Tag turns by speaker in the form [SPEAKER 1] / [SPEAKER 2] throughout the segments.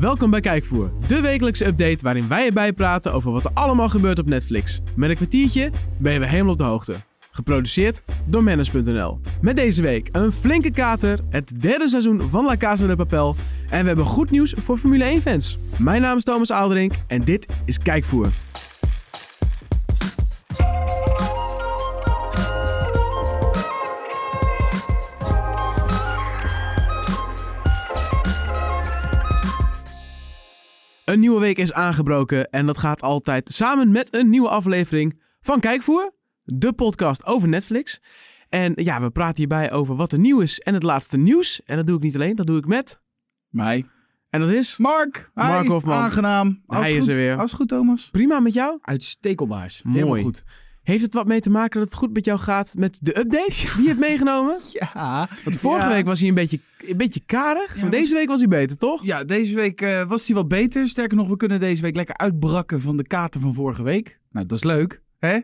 [SPEAKER 1] Welkom bij Kijkvoer, de wekelijkse update waarin wij je bijpraten over wat er allemaal gebeurt op Netflix. Met een kwartiertje ben je weer helemaal op de hoogte. Geproduceerd door Manage.nl. Met deze week een flinke kater, het derde seizoen van La Casa de Papel en we hebben goed nieuws voor Formule 1 fans. Mijn naam is Thomas Aalderink en dit is Kijkvoer. Een nieuwe week is aangebroken en dat gaat altijd samen met een nieuwe aflevering van Kijkvoer, de podcast over Netflix. En ja, we praten hierbij over wat er nieuw is en het laatste nieuws. En dat doe ik niet alleen, dat doe ik met.
[SPEAKER 2] Mij.
[SPEAKER 1] En dat is
[SPEAKER 2] Mark. Hi.
[SPEAKER 1] Mark Hofman.
[SPEAKER 2] Aangenaam. Als
[SPEAKER 1] Hij
[SPEAKER 2] goed.
[SPEAKER 1] is er weer.
[SPEAKER 2] Als goed, Thomas.
[SPEAKER 1] prima met jou.
[SPEAKER 2] Uitstekelbaars.
[SPEAKER 1] Mooi.
[SPEAKER 2] Helemaal goed.
[SPEAKER 1] Heeft het wat mee te maken dat het goed met jou gaat met de update die je hebt meegenomen?
[SPEAKER 2] Ja.
[SPEAKER 1] Want vorige
[SPEAKER 2] Ja.
[SPEAKER 1] week was hij een beetje, een beetje karig.
[SPEAKER 2] Ja,
[SPEAKER 1] maar deze week was hij beter, toch?
[SPEAKER 2] Ja, deze week eh, was hij wat beter. Sterker nog, we kunnen deze week lekker uitbrakken van de kater van vorige week. Nou, dat is leuk. Hè?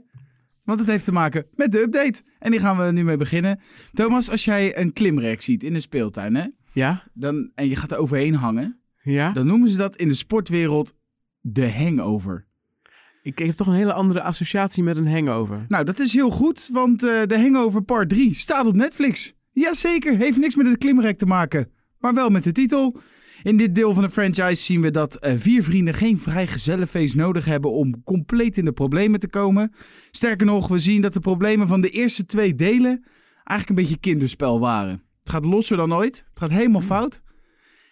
[SPEAKER 2] Want het heeft te maken met de update. En die gaan we nu mee beginnen. Thomas, als jij een klimrek ziet in een speeltuin, hè?
[SPEAKER 1] Ja.
[SPEAKER 2] Dan, en je gaat er overheen hangen,
[SPEAKER 1] Ja.
[SPEAKER 2] dan noemen ze dat in de sportwereld de hangover.
[SPEAKER 1] Ik heb toch een hele andere associatie met een hangover.
[SPEAKER 2] Nou, dat is heel goed, want eh, de Hangover Part 3 staat op Netflix. Jazeker, heeft niks met het klimrek te maken, maar wel met de titel. In dit deel van de franchise zien we dat eh, vier vrienden geen vrijgezellenfeest nodig hebben om compleet in de problemen te komen. Sterker nog, we zien dat de problemen van de eerste twee delen eigenlijk een beetje kinderspel waren. Het gaat losser dan ooit, het gaat helemaal
[SPEAKER 1] Mm.
[SPEAKER 2] fout.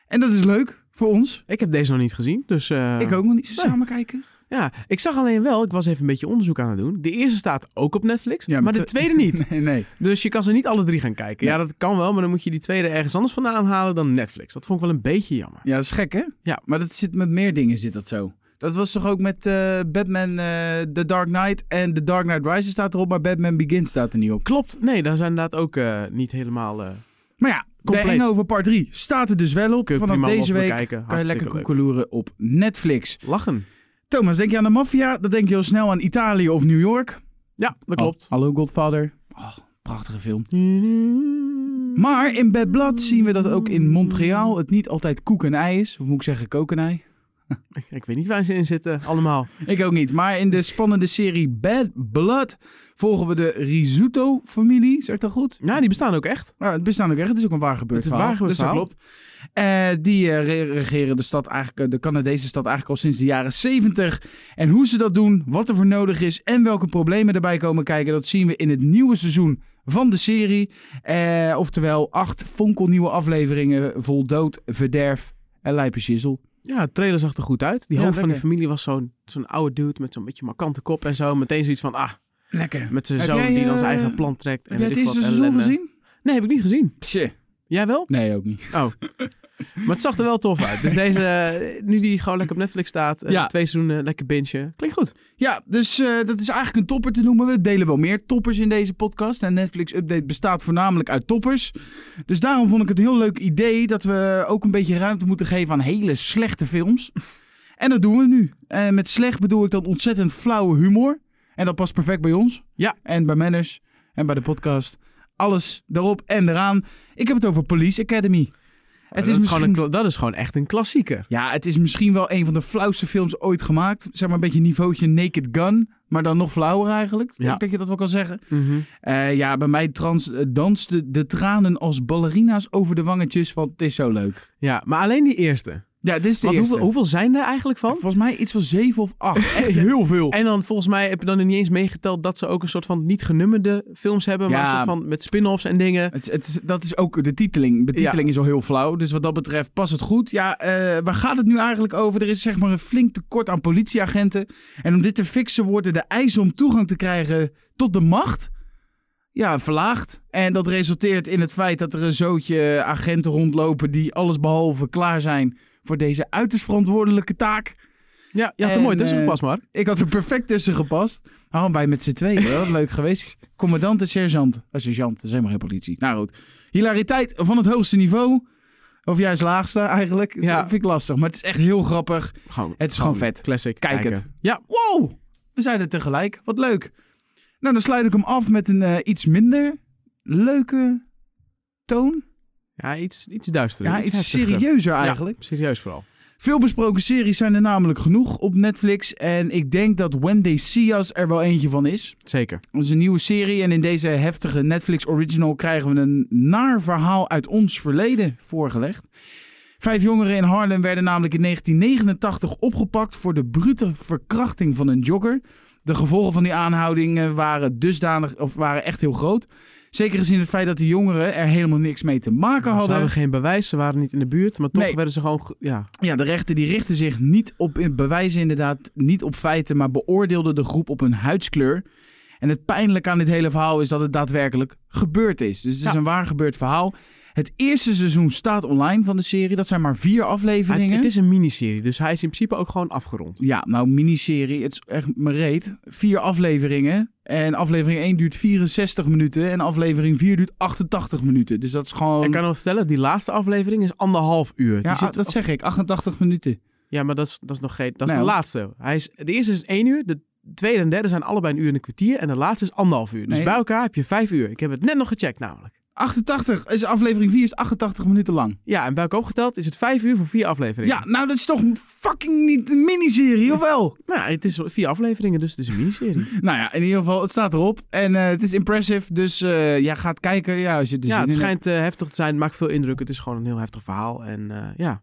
[SPEAKER 2] En dat is leuk voor ons.
[SPEAKER 1] Ik heb deze nog niet gezien, dus... eh,
[SPEAKER 2] Ik ook nog niet, zo
[SPEAKER 1] Nee.
[SPEAKER 2] samen kijken.
[SPEAKER 1] Ja, ik zag alleen wel, ik was even een beetje onderzoek aan het doen. De eerste staat ook op Netflix,
[SPEAKER 2] Ja, maar
[SPEAKER 1] maar de
[SPEAKER 2] te-
[SPEAKER 1] tweede niet.
[SPEAKER 2] Nee, nee.
[SPEAKER 1] Dus je kan ze niet alle drie gaan kijken. Ja,
[SPEAKER 2] Nee.
[SPEAKER 1] dat kan wel, maar dan moet je die tweede ergens anders vandaan halen dan Netflix. Dat vond ik wel een beetje jammer.
[SPEAKER 2] Ja, dat is gek, hè?
[SPEAKER 1] Ja.
[SPEAKER 2] Maar dat zit met meer dingen zit dat zo. Dat was toch ook met eh, Batman eh, The Dark Knight en The Dark Knight Rises staat erop, maar Batman Begins staat er niet op.
[SPEAKER 1] Klopt, nee, daar zijn inderdaad ook eh, niet helemaal... eh
[SPEAKER 2] Maar ja,
[SPEAKER 1] Compleet.
[SPEAKER 2] de Hangover Part 3 staat er dus wel op.
[SPEAKER 1] Kun je
[SPEAKER 2] Vanaf
[SPEAKER 1] prima
[SPEAKER 2] deze
[SPEAKER 1] los
[SPEAKER 2] week
[SPEAKER 1] bekijken.
[SPEAKER 2] kan je
[SPEAKER 1] Hartstikke
[SPEAKER 2] lekker
[SPEAKER 1] leuk.
[SPEAKER 2] koekeloeren op Netflix.
[SPEAKER 1] lachen.
[SPEAKER 2] Thomas, denk je aan de maffia? Dan denk je heel snel aan Italië of New York.
[SPEAKER 1] Ja, dat klopt.
[SPEAKER 2] Oh, hallo Godfather. Oh, prachtige film. Maar in Bad Blood zien we dat ook in Montreal het niet altijd koek en ei is. Of moet ik zeggen kook en ei?
[SPEAKER 1] Ik weet niet waar ze in zitten, allemaal.
[SPEAKER 2] Ik ook niet. Maar in de spannende serie Bad Blood volgen we de Risotto-familie. Zeg ik dat goed?
[SPEAKER 1] Ja, die bestaan ook echt.
[SPEAKER 2] Nou, het bestaan ook echt. Het is ook een waar gebeurd
[SPEAKER 1] Het is een
[SPEAKER 2] verhaal.
[SPEAKER 1] waar gebeurd
[SPEAKER 2] dus dat
[SPEAKER 1] verhaal.
[SPEAKER 2] klopt. Eh, die eh, re- regeren de stad eigenlijk, eh, de Canadese stad eigenlijk al sinds de jaren 70. En hoe ze dat doen, wat er voor nodig is en welke problemen erbij komen kijken, dat zien we in het nieuwe seizoen van de serie. Eh, oftewel, acht fonkelnieuwe afleveringen vol dood, verderf en lijpensjizzel.
[SPEAKER 1] Ja, de trailer zag er goed uit. Die
[SPEAKER 2] Ja,
[SPEAKER 1] hoofd van die
[SPEAKER 2] lekker.
[SPEAKER 1] familie was zo'n zo'n oude dude met zo'n beetje markante kop en zo. Meteen zoiets van, ah,
[SPEAKER 2] Lekker.
[SPEAKER 1] met zijn
[SPEAKER 2] Heb
[SPEAKER 1] zoon
[SPEAKER 2] jij,
[SPEAKER 1] die dan zijn
[SPEAKER 2] eh,
[SPEAKER 1] eigen plan trekt.
[SPEAKER 2] Heb
[SPEAKER 1] en
[SPEAKER 2] jij het
[SPEAKER 1] weet ik
[SPEAKER 2] eerste
[SPEAKER 1] wat,
[SPEAKER 2] seizoen
[SPEAKER 1] ellende.
[SPEAKER 2] gezien?
[SPEAKER 1] Nee, heb ik niet gezien.
[SPEAKER 2] Tje.
[SPEAKER 1] Jij wel?
[SPEAKER 2] Nee, ook niet.
[SPEAKER 1] Oh. maar het zag er wel tof uit. Dus deze, eh, nu die gewoon lekker op Netflix staat, eh,
[SPEAKER 2] Ja.
[SPEAKER 1] twee seizoenen, lekker bingen. Klinkt goed.
[SPEAKER 2] Ja, dus eh, dat is eigenlijk een topper te noemen. We delen wel meer toppers in deze podcast. En Netflix Update bestaat voornamelijk uit toppers. Dus daarom vond ik het een heel leuk idee dat we ook een beetje ruimte moeten geven aan hele slechte films. En dat doen we nu. En met slecht bedoel ik dan ontzettend flauwe humor. En dat past perfect bij ons.
[SPEAKER 1] Ja.
[SPEAKER 2] En bij Manners. En bij de podcast. Alles daarop en eraan. Ik heb het over Police Academy.
[SPEAKER 1] Oh, dat, is gewoon een, kla- dat is gewoon echt een klassieker.
[SPEAKER 2] Ja, het is misschien wel een van de flauwste films ooit gemaakt. Zeg maar een beetje niveautje Naked Gun, maar dan nog flauwer eigenlijk. Ik
[SPEAKER 1] Ja.
[SPEAKER 2] denk dat je dat wel kan zeggen.
[SPEAKER 1] Mhm.
[SPEAKER 2] Eh, ja, bij mij trans, eh, dansten de tranen als ballerina's over de wangetjes, want het is zo leuk.
[SPEAKER 1] Ja, maar alleen die eerste.
[SPEAKER 2] Ja, dit is de
[SPEAKER 1] Want
[SPEAKER 2] eerste.
[SPEAKER 1] hoeveel, hoeveel zijn er eigenlijk van?
[SPEAKER 2] Volgens mij iets van zeven of acht. Echt heel veel.
[SPEAKER 1] En dan volgens mij heb je dan niet eens meegeteld dat ze ook een soort van niet genummerde films hebben, maar
[SPEAKER 2] Ja.
[SPEAKER 1] een soort van met spin-offs en dingen.
[SPEAKER 2] Het, is- het, is- dat is ook de titeling. De titeling is al heel flauw. Dus wat dat betreft past het goed. Ja, eh, waar gaat het nu eigenlijk over? Er is zeg maar een flink tekort aan politieagenten. En om dit te fixen worden de eisen om toegang te krijgen tot de macht... Ja, verlaagd. En dat resulteert in het feit dat er een zootje agenten rondlopen... die allesbehalve klaar zijn voor deze uiterst verantwoordelijke taak.
[SPEAKER 1] Ja, je had er
[SPEAKER 2] En,
[SPEAKER 1] mooi tussen
[SPEAKER 2] eh,
[SPEAKER 1] gepast, maar.
[SPEAKER 2] Ik had er perfect tussen gepast. Oh, wij met z'n tweeën. Wel leuk geweest. Commandant en sergeant. Eh, sergeant, dat is helemaal geen politie. Nou goed. Hilariteit van het hoogste niveau. Of juist laagste eigenlijk.
[SPEAKER 1] Ja.
[SPEAKER 2] Ja. Dat vind ik lastig. Maar het is echt heel grappig.
[SPEAKER 1] Gewoon,
[SPEAKER 2] Het is gewoon vet.
[SPEAKER 1] Classic.
[SPEAKER 2] Kijk
[SPEAKER 1] kijken.
[SPEAKER 2] het.
[SPEAKER 1] Ja,
[SPEAKER 2] Wow! We zeiden het tegelijk. Wat leuk. Nou, dan sluit ik hem af met een eh, iets minder leuke toon.
[SPEAKER 1] ja iets, iets duisterder.
[SPEAKER 2] Ja, iets
[SPEAKER 1] heftiger.
[SPEAKER 2] serieuzer
[SPEAKER 1] Ja,
[SPEAKER 2] eigenlijk.
[SPEAKER 1] serieus vooral.
[SPEAKER 2] Veel besproken series zijn er namelijk genoeg op Netflix. En ik denk dat When They See Us er wel eentje van is.
[SPEAKER 1] Zeker.
[SPEAKER 2] Dat is een nieuwe serie en in deze heftige Netflix original krijgen we een naar verhaal uit ons verleden voorgelegd. Vijf jongeren in Harlem werden namelijk in 1989 opgepakt voor de brute verkrachting van een jogger. De gevolgen van die aanhoudingen waren dusdanig, of waren echt heel groot. Zeker gezien het feit dat die jongeren er helemaal niks mee te maken
[SPEAKER 1] Ze
[SPEAKER 2] hadden.
[SPEAKER 1] hadden geen bewijs, ze waren niet in de buurt, maar toch
[SPEAKER 2] Nee.
[SPEAKER 1] werden ze gewoon... ge- Ja,
[SPEAKER 2] Ja, de rechter die richtte zich niet op in- bewijzen inderdaad, niet op feiten, maar beoordeelde de groep op hun huidskleur. En het pijnlijke aan dit hele verhaal is dat het daadwerkelijk gebeurd is. Dus het is
[SPEAKER 1] Ja.
[SPEAKER 2] een waar gebeurd verhaal. Het eerste seizoen staat online van de serie. Dat zijn maar vier
[SPEAKER 1] het,
[SPEAKER 2] afleveringen.
[SPEAKER 1] Ah, het is een miniserie, dus hij is in principe ook gewoon afgerond.
[SPEAKER 2] Ja, nou, miniserie. Het is echt mijn reet. Vier afleveringen. En aflevering 1 duurt 64 minuten. En aflevering 4 duurt 88 minuten. Dus dat is gewoon...
[SPEAKER 1] Ik kan nog vertellen, die laatste aflevering is anderhalf uur. Die
[SPEAKER 2] Ja, ah,
[SPEAKER 1] zit-
[SPEAKER 2] dat zeg ik. 88 minuten.
[SPEAKER 1] ja maar dat is, dat is nog geen... Dat is
[SPEAKER 2] Nou.
[SPEAKER 1] de laatste. Hij is, de eerste is één uur, de tweede en derde zijn allebei een uur en een kwartier. En de laatste is anderhalf uur. Dus
[SPEAKER 2] Nee.
[SPEAKER 1] bij elkaar heb je vijf uur. Ik heb het net nog gecheckt namelijk.
[SPEAKER 2] 88 is aflevering 4 is 88 minuten lang.
[SPEAKER 1] Ja, en bij elkaar opgeteld is het vijf uur voor vier afleveringen.
[SPEAKER 2] Ja, nou dat is toch fucking niet een miniserie, of wel?
[SPEAKER 1] Nou, ja, het is vier afleveringen, dus het is een miniserie.
[SPEAKER 2] nou ja, in ieder geval, het staat erop. En eh, het is impressive, dus eh, ja, gaat kijken. Ja, als je er
[SPEAKER 1] ja,
[SPEAKER 2] zin
[SPEAKER 1] het
[SPEAKER 2] in hebt.
[SPEAKER 1] schijnt eh, heftig te zijn, het maakt veel indruk. Het is gewoon een heel heftig verhaal. En eh, ja,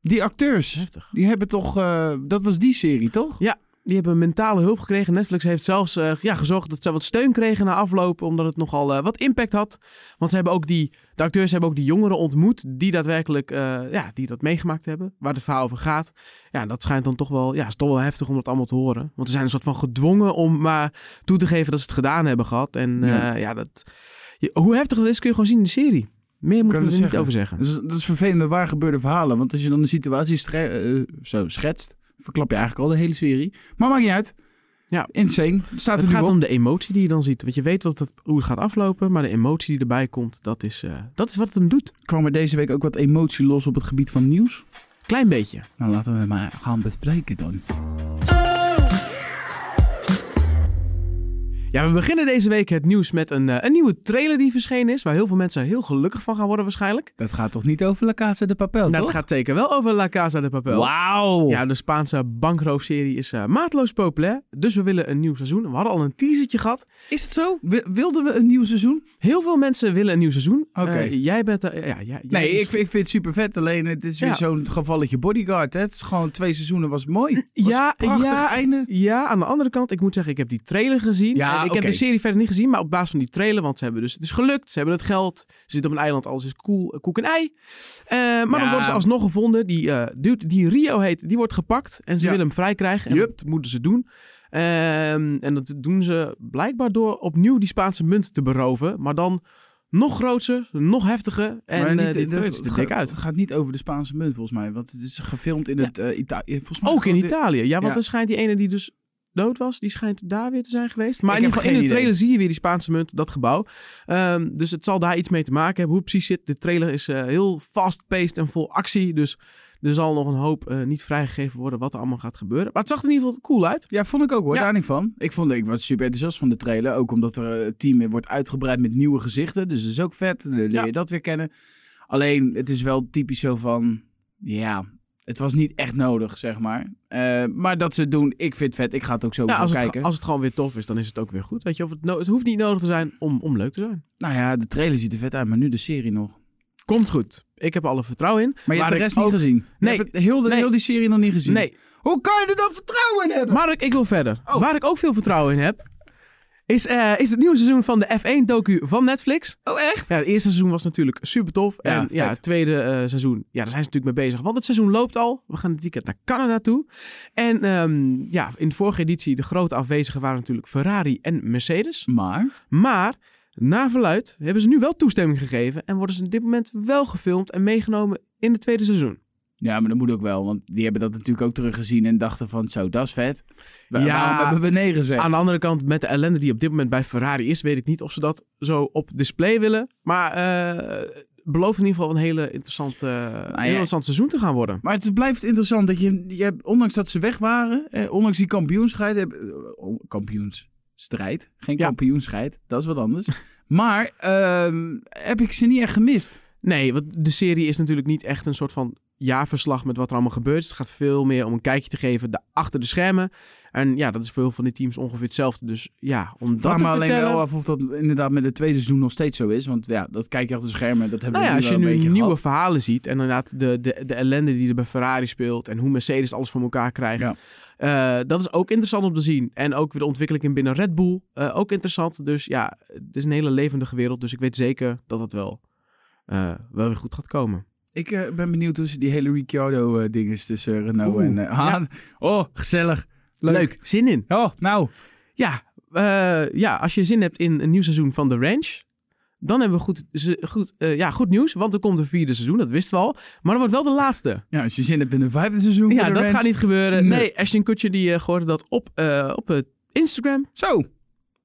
[SPEAKER 2] Die acteurs,
[SPEAKER 1] heftig.
[SPEAKER 2] die hebben toch... eh, dat was die serie, toch?
[SPEAKER 1] Ja. Die hebben mentale hulp gekregen. Netflix heeft zelfs eh, ja, gezorgd dat ze wat steun kregen na afloop. Omdat het nogal eh, wat impact had. Want ze hebben ook die, de acteurs hebben ook die jongeren ontmoet. Die daadwerkelijk eh, ja, die dat meegemaakt hebben. Waar het verhaal over gaat. Ja, en dat schijnt dan toch wel, ja, is toch wel heftig om dat allemaal te horen. Want ze zijn een soort van gedwongen om maar toe te geven dat ze het gedaan hebben gehad. En
[SPEAKER 2] Ja.
[SPEAKER 1] ja, ja dat, je- hoe heftig dat is kun je gewoon zien in de serie. Meer moeten
[SPEAKER 2] Kunnen
[SPEAKER 1] we er
[SPEAKER 2] we
[SPEAKER 1] niet
[SPEAKER 2] zeggen.
[SPEAKER 1] over zeggen.
[SPEAKER 2] Dat is, dat is vervelende waar gebeurde verhalen. Want als je dan de situatie stre- eh, zo schetst, verklap je eigenlijk al de hele serie. Maar maakt niet uit.
[SPEAKER 1] Ja.
[SPEAKER 2] Insane. Het staat er
[SPEAKER 1] Het
[SPEAKER 2] nu
[SPEAKER 1] gaat
[SPEAKER 2] op.
[SPEAKER 1] om de emotie die je dan ziet. Want je weet wat het, hoe het gaat aflopen, maar de emotie die erbij komt, dat is, eh, dat is wat het hem doet.
[SPEAKER 2] Kwam er deze week ook wat emotie los op het gebied van nieuws?
[SPEAKER 1] Klein beetje.
[SPEAKER 2] Nou, laten we het maar gaan bespreken dan.
[SPEAKER 1] Ja, we beginnen deze week het nieuws met een, eh, een nieuwe trailer die verschenen is. Waar heel veel mensen heel gelukkig van gaan worden waarschijnlijk.
[SPEAKER 2] Dat gaat toch niet over La Casa de Papel,
[SPEAKER 1] Nou,
[SPEAKER 2] toch?
[SPEAKER 1] het gaat zeker wel over La Casa de Papel.
[SPEAKER 2] Wauw!
[SPEAKER 1] Ja, de Spaanse bankroofserie is eh, maatloos populair. Dus we willen een nieuw seizoen. We hadden al een teasertje gehad.
[SPEAKER 2] Is het zo? Wi- wilden we een nieuw seizoen?
[SPEAKER 1] Heel veel mensen willen een nieuw seizoen.
[SPEAKER 2] Oké.
[SPEAKER 1] Eh, jij bent... eh, ja, ja, jij
[SPEAKER 2] Nee, dus-
[SPEAKER 1] is-
[SPEAKER 2] ik, ik vind het super vet. Alleen het is weer
[SPEAKER 1] Ja.
[SPEAKER 2] zo'n gevalletje bodyguard. Hè? Het is gewoon twee seizoenen was mooi. Was
[SPEAKER 1] Ja,
[SPEAKER 2] een prachtig
[SPEAKER 1] ja.
[SPEAKER 2] einde.
[SPEAKER 1] Ja, aan de andere kant, ik moet zeggen, ik heb die trailer gezien.
[SPEAKER 2] Ja,
[SPEAKER 1] en ik
[SPEAKER 2] oké.
[SPEAKER 1] heb de serie verder niet gezien, maar op basis van die trailer, want ze hebben dus, het is gelukt, ze hebben het geld, ze zitten op een eiland, alles is cool, eh, koek en ei. Eh, maar
[SPEAKER 2] Ja.
[SPEAKER 1] dan worden ze alsnog gevonden. Die eh, dude die Rio heet, die wordt gepakt en ze
[SPEAKER 2] Ja.
[SPEAKER 1] willen hem vrijkrijgen. En
[SPEAKER 2] Yup.
[SPEAKER 1] dat moeten ze doen. Ehm, en dat doen ze blijkbaar door opnieuw die Spaanse munt te beroven, maar dan nog groter, nog heftiger. En eh, dit
[SPEAKER 2] dat-
[SPEAKER 1] ziet er
[SPEAKER 2] dat
[SPEAKER 1] dik
[SPEAKER 2] gaat-
[SPEAKER 1] uit.
[SPEAKER 2] Het gaat niet over de Spaanse munt, volgens mij. Want het is gefilmd in het eh Italië. Volgens mij
[SPEAKER 1] Ook in
[SPEAKER 2] gewoon-
[SPEAKER 1] Italië. Ja, want
[SPEAKER 2] Ja.
[SPEAKER 1] dan schijnt die ene die dus dood was, die schijnt daar weer te zijn geweest. Maar
[SPEAKER 2] Ik
[SPEAKER 1] in, ieder
[SPEAKER 2] heb
[SPEAKER 1] geval in de
[SPEAKER 2] geen
[SPEAKER 1] trailer
[SPEAKER 2] idee.
[SPEAKER 1] zie je weer die Spaanse munt, dat gebouw. Ehm, dus het zal daar iets mee te maken hebben. Hoe het precies zit, de trailer is eh, heel fast-paced en vol actie. Dus er zal nog een hoop eh, niet vrijgegeven worden wat er allemaal gaat gebeuren. Maar het zag er in ieder geval cool uit.
[SPEAKER 2] Ja, vond ik ook hoor.
[SPEAKER 1] Ja.
[SPEAKER 2] Daar niet van. Ik, vond, ik was super enthousiast van de trailer. Ook omdat er, eh, het team wordt uitgebreid met nieuwe gezichten. Dus dat is ook vet. Dan leer
[SPEAKER 1] Ja.
[SPEAKER 2] je dat weer kennen. Alleen, het is wel typisch zo van... Ja, het was niet echt nodig, zeg maar. Eh, maar dat ze het doen, ik vind het vet. Ik ga het ook zo
[SPEAKER 1] Ja, Nou, als, het,
[SPEAKER 2] kijken.
[SPEAKER 1] ge- als het gewoon weer tof is, dan is het ook weer goed. Weet je, of het, no- het hoeft niet nodig te zijn om, om leuk te zijn.
[SPEAKER 2] Nou ja, de trailer ziet er vet uit, maar nu de serie nog. Maar
[SPEAKER 1] Komt goed. Ik heb er alle vertrouwen in.
[SPEAKER 2] je hebt de
[SPEAKER 1] ik
[SPEAKER 2] rest niet
[SPEAKER 1] ook-
[SPEAKER 2] gezien. Je
[SPEAKER 1] Nee.
[SPEAKER 2] hebt het- heel, de,
[SPEAKER 1] Nee.
[SPEAKER 2] heel die serie nog niet gezien.
[SPEAKER 1] Nee,
[SPEAKER 2] Hoe kan je er dan vertrouwen in hebben?
[SPEAKER 1] Mark, ik wil verder.
[SPEAKER 2] Oh.
[SPEAKER 1] Waar ik ook veel vertrouwen in heb, is, eh, is het nieuwe seizoen van de F1-docu van Netflix.
[SPEAKER 2] Oh, echt?
[SPEAKER 1] Ja, het eerste seizoen was natuurlijk super tof.
[SPEAKER 2] Ja,
[SPEAKER 1] en ja,
[SPEAKER 2] vet.
[SPEAKER 1] het tweede eh, seizoen, ja, daar zijn ze natuurlijk mee bezig. Want het seizoen loopt al. We gaan dit weekend naar Canada toe. En ehm, ja, in de vorige editie, de grote afwezigen waren natuurlijk Ferrari en Mercedes.
[SPEAKER 2] Maar,
[SPEAKER 1] Maar na verluid hebben ze nu wel toestemming gegeven. En worden ze op dit moment wel gefilmd en meegenomen in het tweede seizoen.
[SPEAKER 2] ja, maar dat moet ook wel. Want die hebben dat natuurlijk ook teruggezien en dachten van... Zo, dat is vet. Wa-
[SPEAKER 1] Ja.
[SPEAKER 2] Waarom hebben we nee gezegd?
[SPEAKER 1] Aan de andere kant, met de ellende die op dit moment bij Ferrari is, weet ik niet of ze dat zo op display willen. Maar eh belooft in ieder geval een hele interessant, eh,
[SPEAKER 2] Nou
[SPEAKER 1] een heel interessant seizoen te gaan worden.
[SPEAKER 2] Maar het blijft interessant dat je, je hebt- ondanks dat ze weg waren, eh, ondanks die kampioenschheid, heb, eh, oh, kampioensstrijd, geen
[SPEAKER 1] Ja.
[SPEAKER 2] kampioenschheid, dat is wat anders. maar ehm, heb ik ze niet echt gemist?
[SPEAKER 1] Nee, want de serie is natuurlijk niet echt een soort van jaarverslag met wat er allemaal gebeurt. Dus het gaat veel meer om een kijkje te geven de, achter de schermen. En ja, dat is voor heel veel van die teams ongeveer hetzelfde. Dus ja, om dat
[SPEAKER 2] Vraag
[SPEAKER 1] te
[SPEAKER 2] me alleen
[SPEAKER 1] vertellen...
[SPEAKER 2] wel af of dat inderdaad met het tweede seizoen nog steeds zo is. Want ja, dat kijk je achter de schermen. Dat hebben
[SPEAKER 1] Nou ja,
[SPEAKER 2] we
[SPEAKER 1] als je
[SPEAKER 2] nu wel
[SPEAKER 1] nu
[SPEAKER 2] een beetje
[SPEAKER 1] nieuwe
[SPEAKER 2] gehad.
[SPEAKER 1] verhalen ziet en inderdaad de, de, de ellende die er bij Ferrari speelt en hoe Mercedes alles voor elkaar krijgt.
[SPEAKER 2] Ja.
[SPEAKER 1] eh, dat is ook interessant om te zien. En ook weer de ontwikkeling in binnen Red Bull. eh, ook interessant. Dus ja, het is een hele levendige wereld. Dus ik weet zeker dat dat wel, eh, wel weer goed gaat komen.
[SPEAKER 2] Ik eh, ben benieuwd hoe ze die hele Ricciardo-dinges tussen Renault
[SPEAKER 1] Oeh,
[SPEAKER 2] en eh, Haan. Oh, gezellig. Leuk.
[SPEAKER 1] Zin in.
[SPEAKER 2] Oh, nou.
[SPEAKER 1] Ja, eh, ja, als je zin hebt in een nieuw seizoen van The Ranch, dan hebben we goed, ze- goed, eh, ja, goed nieuws. Want er komt een vierde seizoen, dat wisten we al. Maar dat wordt wel de laatste.
[SPEAKER 2] Ja, als je zin hebt in een vijfde seizoen.
[SPEAKER 1] Ja,
[SPEAKER 2] voor de
[SPEAKER 1] dat
[SPEAKER 2] Rams.
[SPEAKER 1] gaat niet gebeuren.
[SPEAKER 2] Nee.
[SPEAKER 1] Nee, Ashton Kutcher die eh, gooide dat op, eh, op eh, Instagram.
[SPEAKER 2] Zo.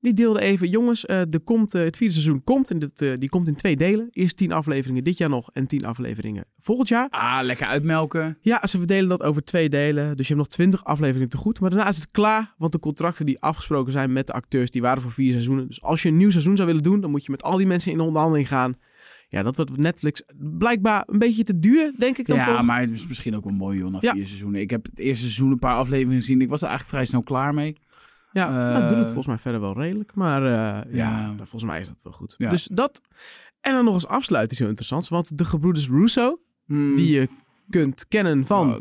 [SPEAKER 1] Die deelde even, jongens, eh er komt, eh, het vierde seizoen komt. En dit, eh, die komt in twee delen. Eerst tien afleveringen dit jaar nog en tien afleveringen volgend jaar.
[SPEAKER 2] Ah, lekker uitmelken.
[SPEAKER 1] Ja, ze verdelen dat over twee delen. Dus je hebt nog twintig afleveringen te goed. Maar daarna is het klaar, want de contracten die afgesproken zijn met de acteurs, die waren voor vier seizoenen. Dus als je een nieuw seizoen zou willen doen, dan moet je met al die mensen in de onderhandeling gaan. Ja, dat wordt Netflix blijkbaar een beetje te duur, denk ik dan
[SPEAKER 2] ja,
[SPEAKER 1] toch.
[SPEAKER 2] maar het is misschien ook wel mooi, joh, na
[SPEAKER 1] Ja.
[SPEAKER 2] vier seizoenen. Ik heb het eerste seizoen een paar afleveringen gezien. Ik was er eigenlijk vrij snel klaar mee.
[SPEAKER 1] Ja,
[SPEAKER 2] Eh,
[SPEAKER 1] nou, doet het volgens mij verder wel redelijk. Maar eh, ja,
[SPEAKER 2] Ja.
[SPEAKER 1] volgens mij is dat wel goed.
[SPEAKER 2] Ja.
[SPEAKER 1] Dus dat. En dan nog eens afsluiten is heel interessant. Want de gebroeders Russo,
[SPEAKER 2] Hmm.
[SPEAKER 1] die je kunt kennen van
[SPEAKER 2] Oh,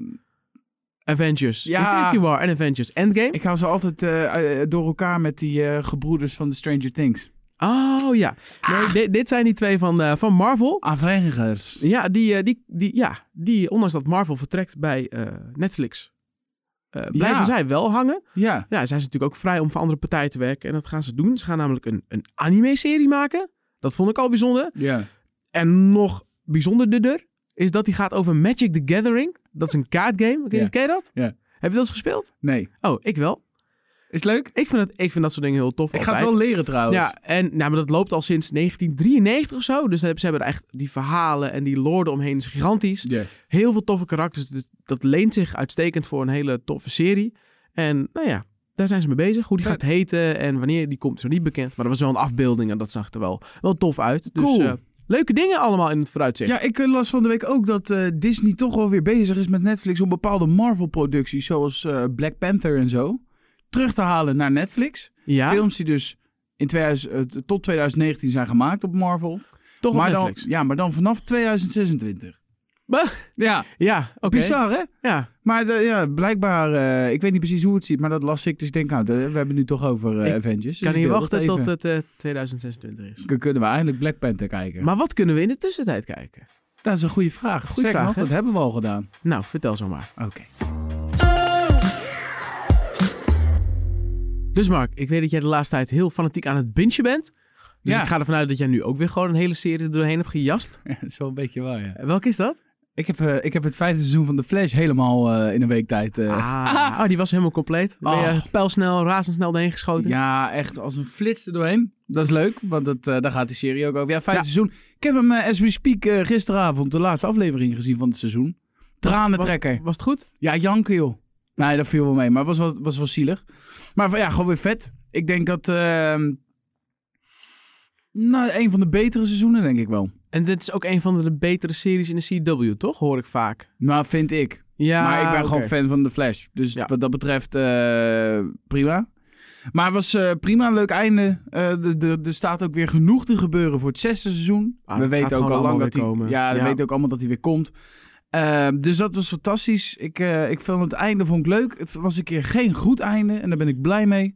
[SPEAKER 1] Avengers
[SPEAKER 2] Ja.
[SPEAKER 1] Infinity War en Avengers Endgame.
[SPEAKER 2] ik hou ze altijd eh, eh, door elkaar met die eh, gebroeders van de Stranger Things.
[SPEAKER 1] Oh ja. Nee,
[SPEAKER 2] Ah.
[SPEAKER 1] di- dit zijn die twee van, eh, van Marvel.
[SPEAKER 2] Avengers.
[SPEAKER 1] Ja die, eh, die, die, ja, die ondanks dat Marvel vertrekt bij eh, Netflix, eh, blijven
[SPEAKER 2] Ja.
[SPEAKER 1] zij wel hangen.
[SPEAKER 2] Ja.
[SPEAKER 1] Ja, zijn ze natuurlijk ook vrij om voor andere partijen te werken. En dat gaan ze doen. Ze gaan namelijk een, een anime-serie maken. Dat vond ik al bijzonder.
[SPEAKER 2] Ja.
[SPEAKER 1] En nog bijzonderder dus, is dat die gaat over Magic the Gathering. Dat is een kaartgame. Ken, je-
[SPEAKER 2] Ja.
[SPEAKER 1] ken je dat?
[SPEAKER 2] Ja.
[SPEAKER 1] Heb je dat eens gespeeld?
[SPEAKER 2] Nee.
[SPEAKER 1] Oh, ik wel.
[SPEAKER 2] Is het leuk?
[SPEAKER 1] Ik vind, dat, ik vind dat soort dingen heel tof.
[SPEAKER 2] Ik ga het
[SPEAKER 1] altijd.
[SPEAKER 2] wel leren trouwens.
[SPEAKER 1] Ja, en nou, maar dat loopt al sinds 1993 of zo. Dus ze hebben- ze hebben er echt die verhalen en die lore omheen is gigantisch.
[SPEAKER 2] Ja.
[SPEAKER 1] Heel veel toffe karakters. Dus dat leent zich uitstekend voor een hele toffe serie. En nou ja, daar zijn ze mee bezig. Hoe die
[SPEAKER 2] Vet.
[SPEAKER 1] gaat heten en wanneer die komt is nog niet bekend. Maar dat was wel een afbeelding en dat zag er wel, wel tof uit. Dus
[SPEAKER 2] Cool.
[SPEAKER 1] eh, leuke dingen allemaal in het vooruitzicht.
[SPEAKER 2] Ja, ik eh, las van de week ook dat eh, Disney toch wel weer bezig is met Netflix om bepaalde Marvel-producties, zoals eh, Black Panther en zo, terug te halen naar Netflix.
[SPEAKER 1] Ja,
[SPEAKER 2] Films die dus in 2000, eh, t- tot 2019 zijn gemaakt op Marvel.
[SPEAKER 1] toch
[SPEAKER 2] maar
[SPEAKER 1] op
[SPEAKER 2] dan,
[SPEAKER 1] Netflix.
[SPEAKER 2] ja, maar dan vanaf 2026.
[SPEAKER 1] Bah.
[SPEAKER 2] Ja,
[SPEAKER 1] Ja, oké.
[SPEAKER 2] bizar hè?
[SPEAKER 1] Ja,
[SPEAKER 2] Maar de- ja, blijkbaar, eh, ik weet niet precies hoe het ziet, maar dat las ik. Dus ik denk, nou, de- we hebben het nu toch over eh,
[SPEAKER 1] Ik
[SPEAKER 2] Avengers. Dus
[SPEAKER 1] kan
[SPEAKER 2] ik
[SPEAKER 1] niet
[SPEAKER 2] deel dat
[SPEAKER 1] wachten
[SPEAKER 2] even.
[SPEAKER 1] tot het eh, 2026 is.
[SPEAKER 2] Dan kunnen we eindelijk Black Panther kijken.
[SPEAKER 1] Maar wat kunnen we in de tussentijd kijken?
[SPEAKER 2] dat is een goede vraag. Goeie
[SPEAKER 1] vraag, hè?
[SPEAKER 2] dat hebben we al gedaan.
[SPEAKER 1] Nou, vertel zo maar.
[SPEAKER 2] Oké.
[SPEAKER 1] Dus Mark, ik weet dat jij de laatste tijd heel fanatiek aan het bingen bent. Dus
[SPEAKER 2] Ja.
[SPEAKER 1] ik ga ervan uit dat jij nu ook weer gewoon een hele serie er doorheen hebt gejast.
[SPEAKER 2] Ja, dat is wel een beetje waar, ja.
[SPEAKER 1] Eh, Welke is dat?
[SPEAKER 2] Ik heb, eh, ik heb het vijfde seizoen van The Flash helemaal eh, in een week tijd. eh,
[SPEAKER 1] Ah, oh, die was helemaal compleet. Ben je
[SPEAKER 2] Ach.
[SPEAKER 1] pijlsnel, razendsnel doorheen geschoten?
[SPEAKER 2] Oh. Ja, echt als een flits er doorheen. Dat is leuk, want dat, eh, daar gaat die serie ook over. Ja, vijfde
[SPEAKER 1] Ja.
[SPEAKER 2] seizoen. Ik heb hem, eh, as we speak, eh, gisteravond de laatste aflevering gezien van het seizoen. Tranentrekker.
[SPEAKER 1] Was, was het goed?
[SPEAKER 2] Ja, janken joh. Nee, dat viel wel mee, maar het was wel, was wel zielig. Maar ja, gewoon weer vet. Ik denk dat... ehm, nou, een van de betere seizoenen, denk ik wel.
[SPEAKER 1] En dit is ook een van de betere series in de CW, toch? Hoor ik vaak.
[SPEAKER 2] Nou, vind ik.
[SPEAKER 1] Ja,
[SPEAKER 2] maar ik ben
[SPEAKER 1] oké.
[SPEAKER 2] gewoon fan van The Flash. Dus
[SPEAKER 1] Ja.
[SPEAKER 2] wat dat betreft, eh, prima. Maar het was eh, prima, een leuk einde. Eh, de- de- Er staat ook weer genoeg te gebeuren voor het zesde seizoen.
[SPEAKER 1] Ah,
[SPEAKER 2] we
[SPEAKER 1] dat
[SPEAKER 2] weten
[SPEAKER 1] gaat
[SPEAKER 2] ook
[SPEAKER 1] gewoon
[SPEAKER 2] al lang
[SPEAKER 1] allemaal
[SPEAKER 2] dat hij.
[SPEAKER 1] weer komen.
[SPEAKER 2] Ja, we
[SPEAKER 1] Ja.
[SPEAKER 2] weten ook allemaal dat hij weer komt. Eh, dus dat was fantastisch. Ik, eh, ik vond het einde vond ik leuk. Het was een keer geen goed einde en daar ben ik blij mee.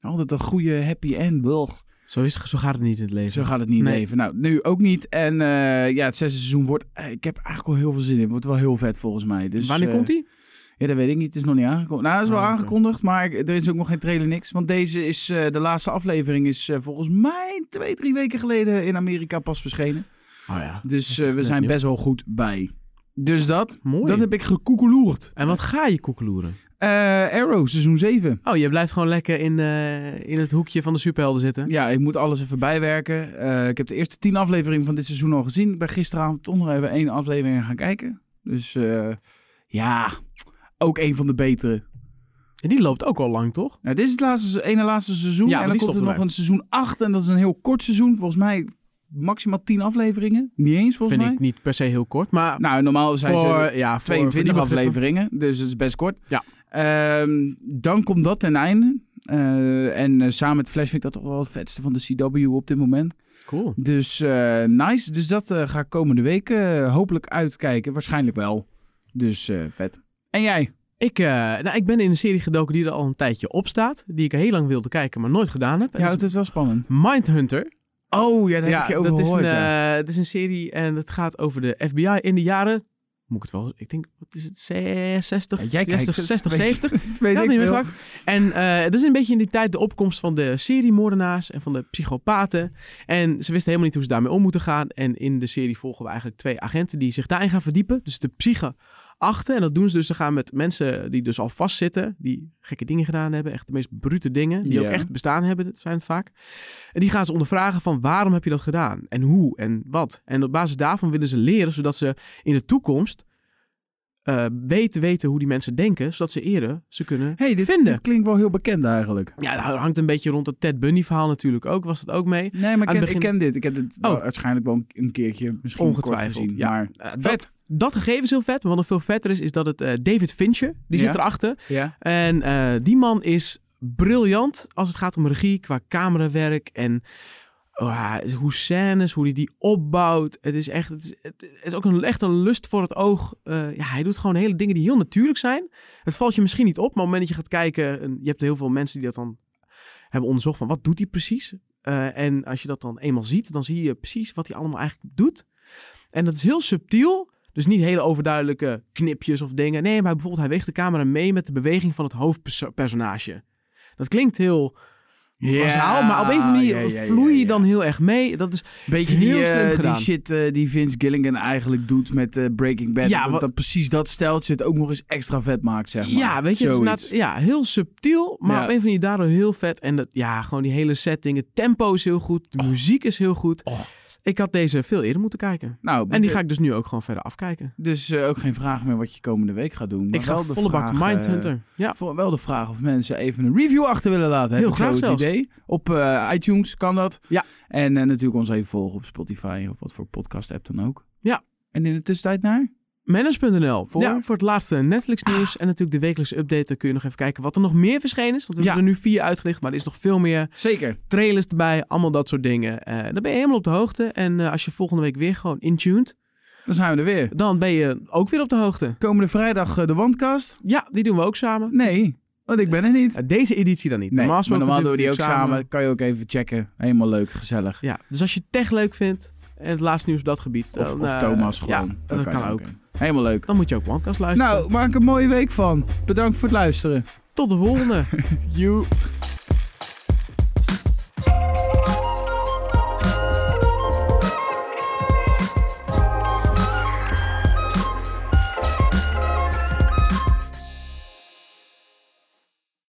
[SPEAKER 2] Altijd een goede happy end. Bulg.
[SPEAKER 1] Zo, is, zo gaat het niet in het leven.
[SPEAKER 2] Zo gaat het niet
[SPEAKER 1] Nee.
[SPEAKER 2] leven. Nou, nu ook niet. En eh, ja, het zesde seizoen wordt. eh, ik heb eigenlijk wel heel veel zin in. Wordt wel heel vet volgens mij. Dus,
[SPEAKER 1] Wanneer
[SPEAKER 2] eh,
[SPEAKER 1] komt die?
[SPEAKER 2] ja, dat weet ik niet. Het is nog niet aangekondigd. Nou, het is wel
[SPEAKER 1] Oh, oké.
[SPEAKER 2] aangekondigd, maar ik- er is ook nog geen trailer niks. Want deze is, eh, de laatste aflevering is eh, volgens mij twee, drie weken geleden in Amerika pas verschenen.
[SPEAKER 1] Oh ja.
[SPEAKER 2] Dus eh, we
[SPEAKER 1] net
[SPEAKER 2] zijn
[SPEAKER 1] nieuw.
[SPEAKER 2] best wel goed bij. Dus dat,
[SPEAKER 1] Mooi.
[SPEAKER 2] dat heb ik gekoekeloerd.
[SPEAKER 1] En wat ga je koekeloeren?
[SPEAKER 2] Eh, Arrow, seizoen 7.
[SPEAKER 1] Oh, je blijft gewoon lekker in, eh, in het hoekje van de superhelden zitten.
[SPEAKER 2] Ja, ik moet alles even bijwerken. Eh, ik heb de eerste tien afleveringen van dit seizoen al gezien. Ik ben gisteravond toch nog even één aflevering gaan kijken. Dus eh, ja, ook een van de betere.
[SPEAKER 1] En die loopt ook al lang, toch?
[SPEAKER 2] Nou, dit is het laatste, ene laatste seizoen.
[SPEAKER 1] Ja,
[SPEAKER 2] en
[SPEAKER 1] maar
[SPEAKER 2] dan
[SPEAKER 1] die
[SPEAKER 2] komt er
[SPEAKER 1] stoppen
[SPEAKER 2] nog een seizoen 8. En dat is een heel kort seizoen. Volgens mij maximaal 10 afleveringen. Niet eens volgens
[SPEAKER 1] Vind
[SPEAKER 2] mij.
[SPEAKER 1] ik niet per se heel kort, maar
[SPEAKER 2] Nou, normaal zijn ze
[SPEAKER 1] voor, ja, voor- voor
[SPEAKER 2] 22
[SPEAKER 1] die begrippen.
[SPEAKER 2] afleveringen, dus het is best kort.
[SPEAKER 1] Ja.
[SPEAKER 2] Ehm, dan komt dat ten einde. Eh, en eh, samen met Flash vind ik dat toch wel het vetste van de CW op dit moment.
[SPEAKER 1] Cool.
[SPEAKER 2] Dus eh, nice. Dus dat eh, ga ik komende week eh, hopelijk uitkijken. Waarschijnlijk wel. Dus eh, vet. En jij?
[SPEAKER 1] Ik, eh, nou, ik ben in een serie gedoken die er al een tijdje op staat. Die ik heel lang wilde kijken, maar nooit gedaan heb.
[SPEAKER 2] Je houdt het wel spannend.
[SPEAKER 1] Mindhunter.
[SPEAKER 2] Oh, ja, daar heb ik je over
[SPEAKER 1] dat is
[SPEAKER 2] gehoord.
[SPEAKER 1] Een,
[SPEAKER 2] ja.
[SPEAKER 1] eh, het is een serie en het gaat over de FBI in de jaren... Moet ik het wel... Ik denk, wat is het? 60?
[SPEAKER 2] Ja, jij kijkt
[SPEAKER 1] 60,
[SPEAKER 2] het.
[SPEAKER 1] 60,
[SPEAKER 2] Weet-
[SPEAKER 1] 70?
[SPEAKER 2] Dat weet
[SPEAKER 1] Ja,
[SPEAKER 2] ik
[SPEAKER 1] had niet
[SPEAKER 2] veel.
[SPEAKER 1] meer gepakt. En eh, het is een beetje in die tijd de opkomst van de seriemoordenaars en van de psychopaten. En ze wisten helemaal niet hoe ze daarmee om moeten gaan. En in de serie volgen we eigenlijk twee agenten die zich daarin gaan verdiepen. Dus de psyche achter. En dat doen ze dus. Ze gaan met mensen die dus al vastzitten, die gekke dingen gedaan hebben. Echt de meest brute dingen, die
[SPEAKER 2] Ja.
[SPEAKER 1] ook echt bestaan hebben, dat zijn het vaak. En die gaan ze ondervragen van waarom heb je dat gedaan? En hoe en wat? En op basis daarvan willen ze leren, zodat ze in de toekomst... eh, weten, weten hoe die mensen denken, zodat ze eerder ze kunnen
[SPEAKER 2] hey, dit,
[SPEAKER 1] vinden.
[SPEAKER 2] dit klinkt wel heel bekend eigenlijk.
[SPEAKER 1] Ja, dat hangt een beetje rond het Ted Bundy verhaal natuurlijk ook. Was dat ook mee?
[SPEAKER 2] Nee, maar ik
[SPEAKER 1] Aan
[SPEAKER 2] ken,
[SPEAKER 1] het
[SPEAKER 2] ik
[SPEAKER 1] begin-
[SPEAKER 2] ken dit. Ik heb het wel
[SPEAKER 1] Oh.
[SPEAKER 2] waarschijnlijk wel een- een keertje misschien
[SPEAKER 1] Ongetwijfeld,
[SPEAKER 2] kort gezien.
[SPEAKER 1] ja.
[SPEAKER 2] Maar
[SPEAKER 1] Eh, dat-
[SPEAKER 2] vet.
[SPEAKER 1] Dat gegeven is heel vet, maar wat nog veel vetter is, is dat het eh, David Fincher, die
[SPEAKER 2] Ja.
[SPEAKER 1] zit erachter.
[SPEAKER 2] Ja.
[SPEAKER 1] En eh, die man is briljant als het gaat om regie, qua camerawerk en ah, hoe scènes, hoe hij die opbouwt. Het is echt, het is, het is ook een, echt een lust voor het oog. Eh, ja, hij doet gewoon hele dingen die heel natuurlijk zijn. Het valt je misschien niet op, maar op het moment dat je gaat kijken, en je hebt heel veel mensen die dat dan hebben onderzocht van wat doet hij precies. Eh, en als je dat dan eenmaal ziet, dan zie je precies wat hij allemaal eigenlijk doet. En dat is heel subtiel. Dus niet hele overduidelijke knipjes of dingen. Nee, maar bijvoorbeeld hij weegt de camera mee met de beweging van het hoofdpersonage. Dat klinkt heel
[SPEAKER 2] Ja,
[SPEAKER 1] bazaal, maar op een of andere
[SPEAKER 2] ja,
[SPEAKER 1] manier
[SPEAKER 2] ja, ja,
[SPEAKER 1] vloei je
[SPEAKER 2] ja.
[SPEAKER 1] dan heel erg mee. Dat is
[SPEAKER 2] Beetje
[SPEAKER 1] Heel
[SPEAKER 2] die, eh,
[SPEAKER 1] slim
[SPEAKER 2] die
[SPEAKER 1] gedaan.
[SPEAKER 2] shit eh, die Vince Gilligan eigenlijk doet met eh, Breaking Bad.
[SPEAKER 1] Ja,
[SPEAKER 2] dat,
[SPEAKER 1] wat-
[SPEAKER 2] dat precies dat steltje het ook nog eens extra vet maakt, zeg maar.
[SPEAKER 1] Ja, weet je, het is
[SPEAKER 2] Zoiets.
[SPEAKER 1] inderdaad- ja, heel subtiel, maar op een of
[SPEAKER 2] Ja.
[SPEAKER 1] andere manier daardoor heel vet. En dat, ja, gewoon die hele setting, het tempo is heel goed, de muziek is heel goed.
[SPEAKER 2] Oh.
[SPEAKER 1] Ik had deze veel eerder moeten kijken.
[SPEAKER 2] Nou,
[SPEAKER 1] En die ga ik dus nu ook gewoon verder afkijken.
[SPEAKER 2] Dus eh, ook geen vraag meer wat je komende week gaat doen. maar
[SPEAKER 1] ik ga
[SPEAKER 2] wel de
[SPEAKER 1] volle bak
[SPEAKER 2] vraag, eh,
[SPEAKER 1] Mindhunter. ja.
[SPEAKER 2] voor- wel de vraag of mensen even een review achter willen laten. Heb
[SPEAKER 1] Heel
[SPEAKER 2] ik
[SPEAKER 1] graag
[SPEAKER 2] zo het
[SPEAKER 1] zelfs.
[SPEAKER 2] idee. Op eh, iTunes kan dat.
[SPEAKER 1] Ja.
[SPEAKER 2] En eh, natuurlijk ons even volgen op Spotify of wat voor podcast app dan ook.
[SPEAKER 1] Ja.
[SPEAKER 2] En in de tussentijd naar?
[SPEAKER 1] Manage.nl.
[SPEAKER 2] Voor?
[SPEAKER 1] Ja, voor het laatste Netflix nieuws. En natuurlijk de wekelijkse update. Dan kun je nog even kijken wat er nog meer verschenen is. Want we
[SPEAKER 2] Ja.
[SPEAKER 1] hebben er nu vier uitgelicht. Maar er is nog veel meer
[SPEAKER 2] Zeker.
[SPEAKER 1] trailers erbij. Allemaal dat soort dingen. Eh dan ben je helemaal op de hoogte. En eh, als je volgende week weer gewoon intuned.
[SPEAKER 2] Dan zijn we er weer.
[SPEAKER 1] Dan ben je ook weer op de hoogte.
[SPEAKER 2] Komende vrijdag eh, de Wandkast.
[SPEAKER 1] Ja, die doen we ook samen.
[SPEAKER 2] Nee, want ik ben er niet.
[SPEAKER 1] Eh, Deze editie dan niet.
[SPEAKER 2] Nee, maar
[SPEAKER 1] gesproken
[SPEAKER 2] normaal doen we
[SPEAKER 1] doen
[SPEAKER 2] die ook samen. Kan je ook even checken. Helemaal leuk, gezellig.
[SPEAKER 1] Ja, dus als je tech leuk vindt en het laatste nieuws op dat gebied.
[SPEAKER 2] Of,
[SPEAKER 1] dan,
[SPEAKER 2] of
[SPEAKER 1] eh,
[SPEAKER 2] Thomas
[SPEAKER 1] Ja,
[SPEAKER 2] gewoon.
[SPEAKER 1] dat
[SPEAKER 2] je
[SPEAKER 1] kan ook.
[SPEAKER 2] in. Helemaal leuk.
[SPEAKER 1] Dan moet je ook OneCast luisteren.
[SPEAKER 2] Nou, maak een mooie week van. Bedankt voor het luisteren.
[SPEAKER 1] tot de volgende.
[SPEAKER 2] You.